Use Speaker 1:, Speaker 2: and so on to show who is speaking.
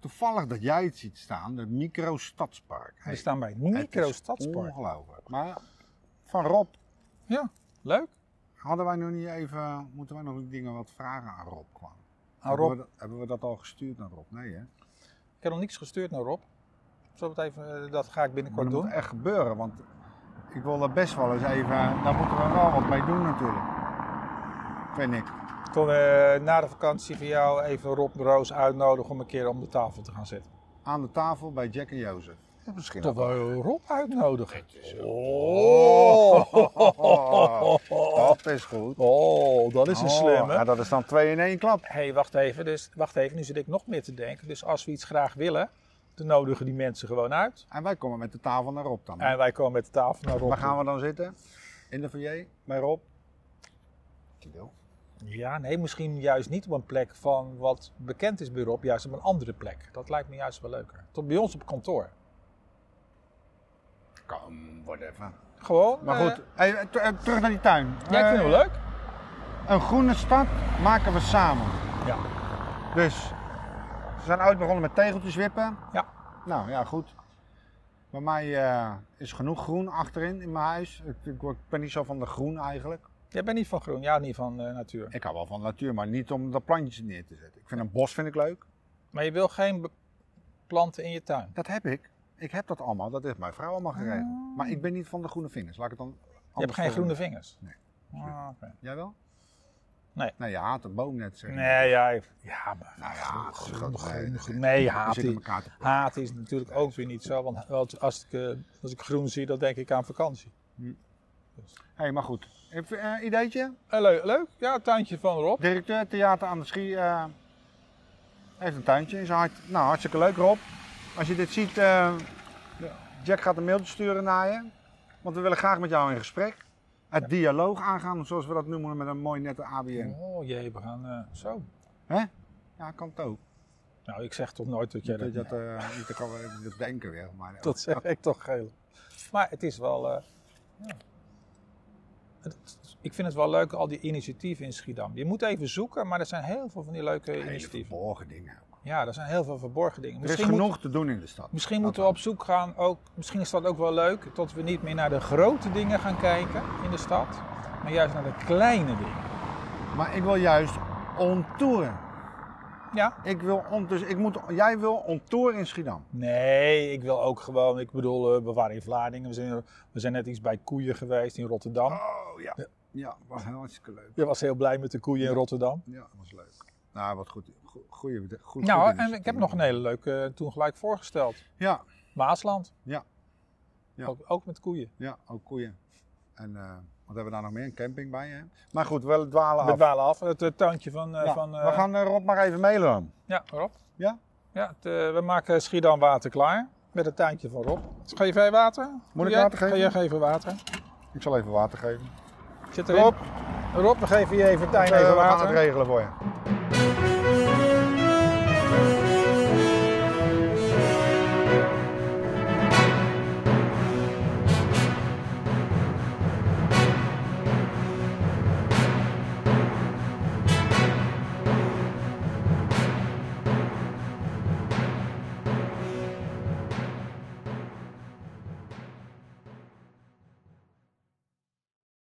Speaker 1: toevallig dat jij het ziet staan, het Micro Stadspark.
Speaker 2: We
Speaker 1: Hey,
Speaker 2: staan bij het
Speaker 1: het is
Speaker 2: microstadspark.
Speaker 1: Ongelooflijk. Maar van Rob,
Speaker 2: Ja, leuk.
Speaker 1: hadden wij nog niet even, moeten wij nog dingen wat vragen aan Rob kwam?
Speaker 2: Aan
Speaker 1: Hebben,
Speaker 2: Rob,
Speaker 1: we dat, hebben we dat al gestuurd naar Rob? Nee hè?
Speaker 2: ik heb nog niks gestuurd naar Rob. Zal ik het even, eh, dat ga ik
Speaker 1: Maar
Speaker 2: binnenkort
Speaker 1: dat moet
Speaker 2: doen.
Speaker 1: echt gebeuren, want ik wil er best wel eens even, daar moeten we wel wat mee doen natuurlijk. Vind ik.
Speaker 2: Toen we na de vakantie van jou even Rob de Roos uitnodigen om een keer om de tafel te gaan zitten.
Speaker 1: Aan de tafel bij Jack en Jozef. Ja, misschien
Speaker 2: Dat we Rob uitnodigen.
Speaker 1: Oh. Dat is goed.
Speaker 2: Oh, dat is een
Speaker 1: Oh, ja,
Speaker 2: slimme.
Speaker 1: dat is dan twee in één klap.
Speaker 2: Hé, hey, wacht even. Dus, wacht even, nu zit ik nog meer te denken. Dus als we iets graag willen, dan nodigen die mensen gewoon uit.
Speaker 1: En wij komen met de tafel naar Rob dan. hè?
Speaker 2: En wij komen met de tafel naar Rob.
Speaker 1: Waar gaan
Speaker 2: toe.
Speaker 1: we dan zitten? In de foyer? Bij Rob? Die wil.
Speaker 2: Ja, nee, misschien juist niet op een plek van wat bekend is bij Rob, juist op een andere plek. Dat lijkt me juist wel leuker. Tot bij ons op kantoor.
Speaker 1: Kom, whatever.
Speaker 2: Gewoon.
Speaker 1: Maar
Speaker 2: eh,
Speaker 1: goed, eh, hey, ter- eh, terug naar die tuin.
Speaker 2: ja, ik vind het wel leuk.
Speaker 1: Eh, Een groene stad maken we samen.
Speaker 2: Ja.
Speaker 1: Dus, ze zijn ooit begonnen met tegeltjes wippen.
Speaker 2: Ja.
Speaker 1: Nou ja, goed. Bij mij eh, is genoeg groen achterin in mijn huis. Ik, ik word- ik ben niet zo van de groen eigenlijk.
Speaker 2: Jij bent niet van groen, ja, niet van eh, natuur.
Speaker 1: Ik hou wel van natuur, maar niet om dat plantjes neer te zetten. Ik vind een bos vind ik leuk.
Speaker 2: Maar je wil geen be- planten in je tuin.
Speaker 1: Dat heb ik. Ik heb dat allemaal. Dat heeft mijn vrouw allemaal geregeld. Maar ik ben niet van de groene vingers. Laat ik het dan.
Speaker 2: Oh. Je hebt
Speaker 1: anders
Speaker 2: geen groene
Speaker 1: formuleren.
Speaker 2: vingers.
Speaker 1: Nee.
Speaker 2: Ah, oké.
Speaker 1: Jij wel?
Speaker 2: Nee.
Speaker 1: Nee, je haat een boom net. Zeg. je.
Speaker 2: Nee, ja, ik- ja, maar
Speaker 1: Nou ja,
Speaker 2: groen,
Speaker 1: groen,
Speaker 2: groen, groen,
Speaker 1: groen,
Speaker 2: groen. Nee,
Speaker 1: We
Speaker 2: haat
Speaker 1: zitten
Speaker 2: die.
Speaker 1: elkaar te
Speaker 2: Haat is natuurlijk ook weer niet zo, want als- als ik, eh, als ik groen zie, dan denk ik aan vakantie.
Speaker 1: Hé, maar goed. Even een ideetje.
Speaker 2: Eh, leuk, leuk, ja, het tuintje van Rob.
Speaker 1: Directeur Theater aan de Schie eh, heeft een tuintje in zijn hart. Nou, hartstikke leuk Rob. Als je dit ziet, eh, Jack gaat een mailtje sturen naar je. Want we willen graag met jou in gesprek. Het dialoog aangaan, zoals we dat noemen met een mooi nette ABN.
Speaker 2: Oh jee, we gaan eh, zo.
Speaker 1: Ja, kan het ook.
Speaker 2: Nou, ik zeg toch nooit dat jij
Speaker 1: Dat
Speaker 2: dat...
Speaker 1: je dat eh, niet kan eh, dat denken weer. Maar,
Speaker 2: Dat zeg ik toch geel. Maar het is wel. eh, ja. Het- ik vind het wel leuk, al die initiatieven in Schiedam. Je moet even zoeken, maar er zijn heel veel van die leuke
Speaker 1: Hele
Speaker 2: initiatieven.
Speaker 1: verborgen dingen.
Speaker 2: Ja, er zijn heel veel verborgen dingen.
Speaker 1: Er is
Speaker 2: moet-
Speaker 1: genoeg te doen in de stad.
Speaker 2: misschien moeten we op zoek gaan, ook, misschien is dat ook wel leuk, dat we niet meer naar de grote dingen gaan kijken in de stad, maar juist naar de kleine dingen.
Speaker 1: Maar ik wil juist onttoeren.
Speaker 2: Ja?
Speaker 1: Ik wil on, dus ik moet, jij wil onttoeren in Schiedam.
Speaker 2: Nee, ik wil ook gewoon, ik bedoel, eh, we waren in Vlaardingen, we zijn, we zijn net iets bij koeien geweest in Rotterdam.
Speaker 1: Oh ja. Ja, was hartstikke leuk.
Speaker 2: Je was heel blij met de koeien in Rotterdam.
Speaker 1: Ja, dat was leuk. Nou, wat goed. Goeie, goed, goed
Speaker 2: Nou, en
Speaker 1: initiatief.
Speaker 2: ik heb nog een hele leuke eh, toen gelijk voorgesteld.
Speaker 1: Ja,
Speaker 2: Maasland.
Speaker 1: Ja. Ja.
Speaker 2: Ook, ook met koeien.
Speaker 1: ja, ook koeien. En eh, wat hebben we daar nog meer? Een camping bij, hè? Maar goed, wel dwalen
Speaker 2: We
Speaker 1: af.
Speaker 2: dwalen af. Het eh, tuintje van... eh,
Speaker 1: Ja,
Speaker 2: van eh,
Speaker 1: we gaan eh, Rob maar even mailen dan.
Speaker 2: Ja, Rob.
Speaker 1: Ja?
Speaker 2: Ja, het, eh, we maken Schiedam water klaar. Met het tuintje van Rob. Geef jij water? Doe
Speaker 1: ik
Speaker 2: jij?
Speaker 1: water geven?
Speaker 2: Ga jij geven water?
Speaker 1: Ik zal even water geven.
Speaker 2: Zit erin.
Speaker 1: Rob,
Speaker 2: Rob, we geven je even Tijn
Speaker 1: eh,
Speaker 2: even
Speaker 1: we gaan het
Speaker 2: water.
Speaker 1: regelen voor je.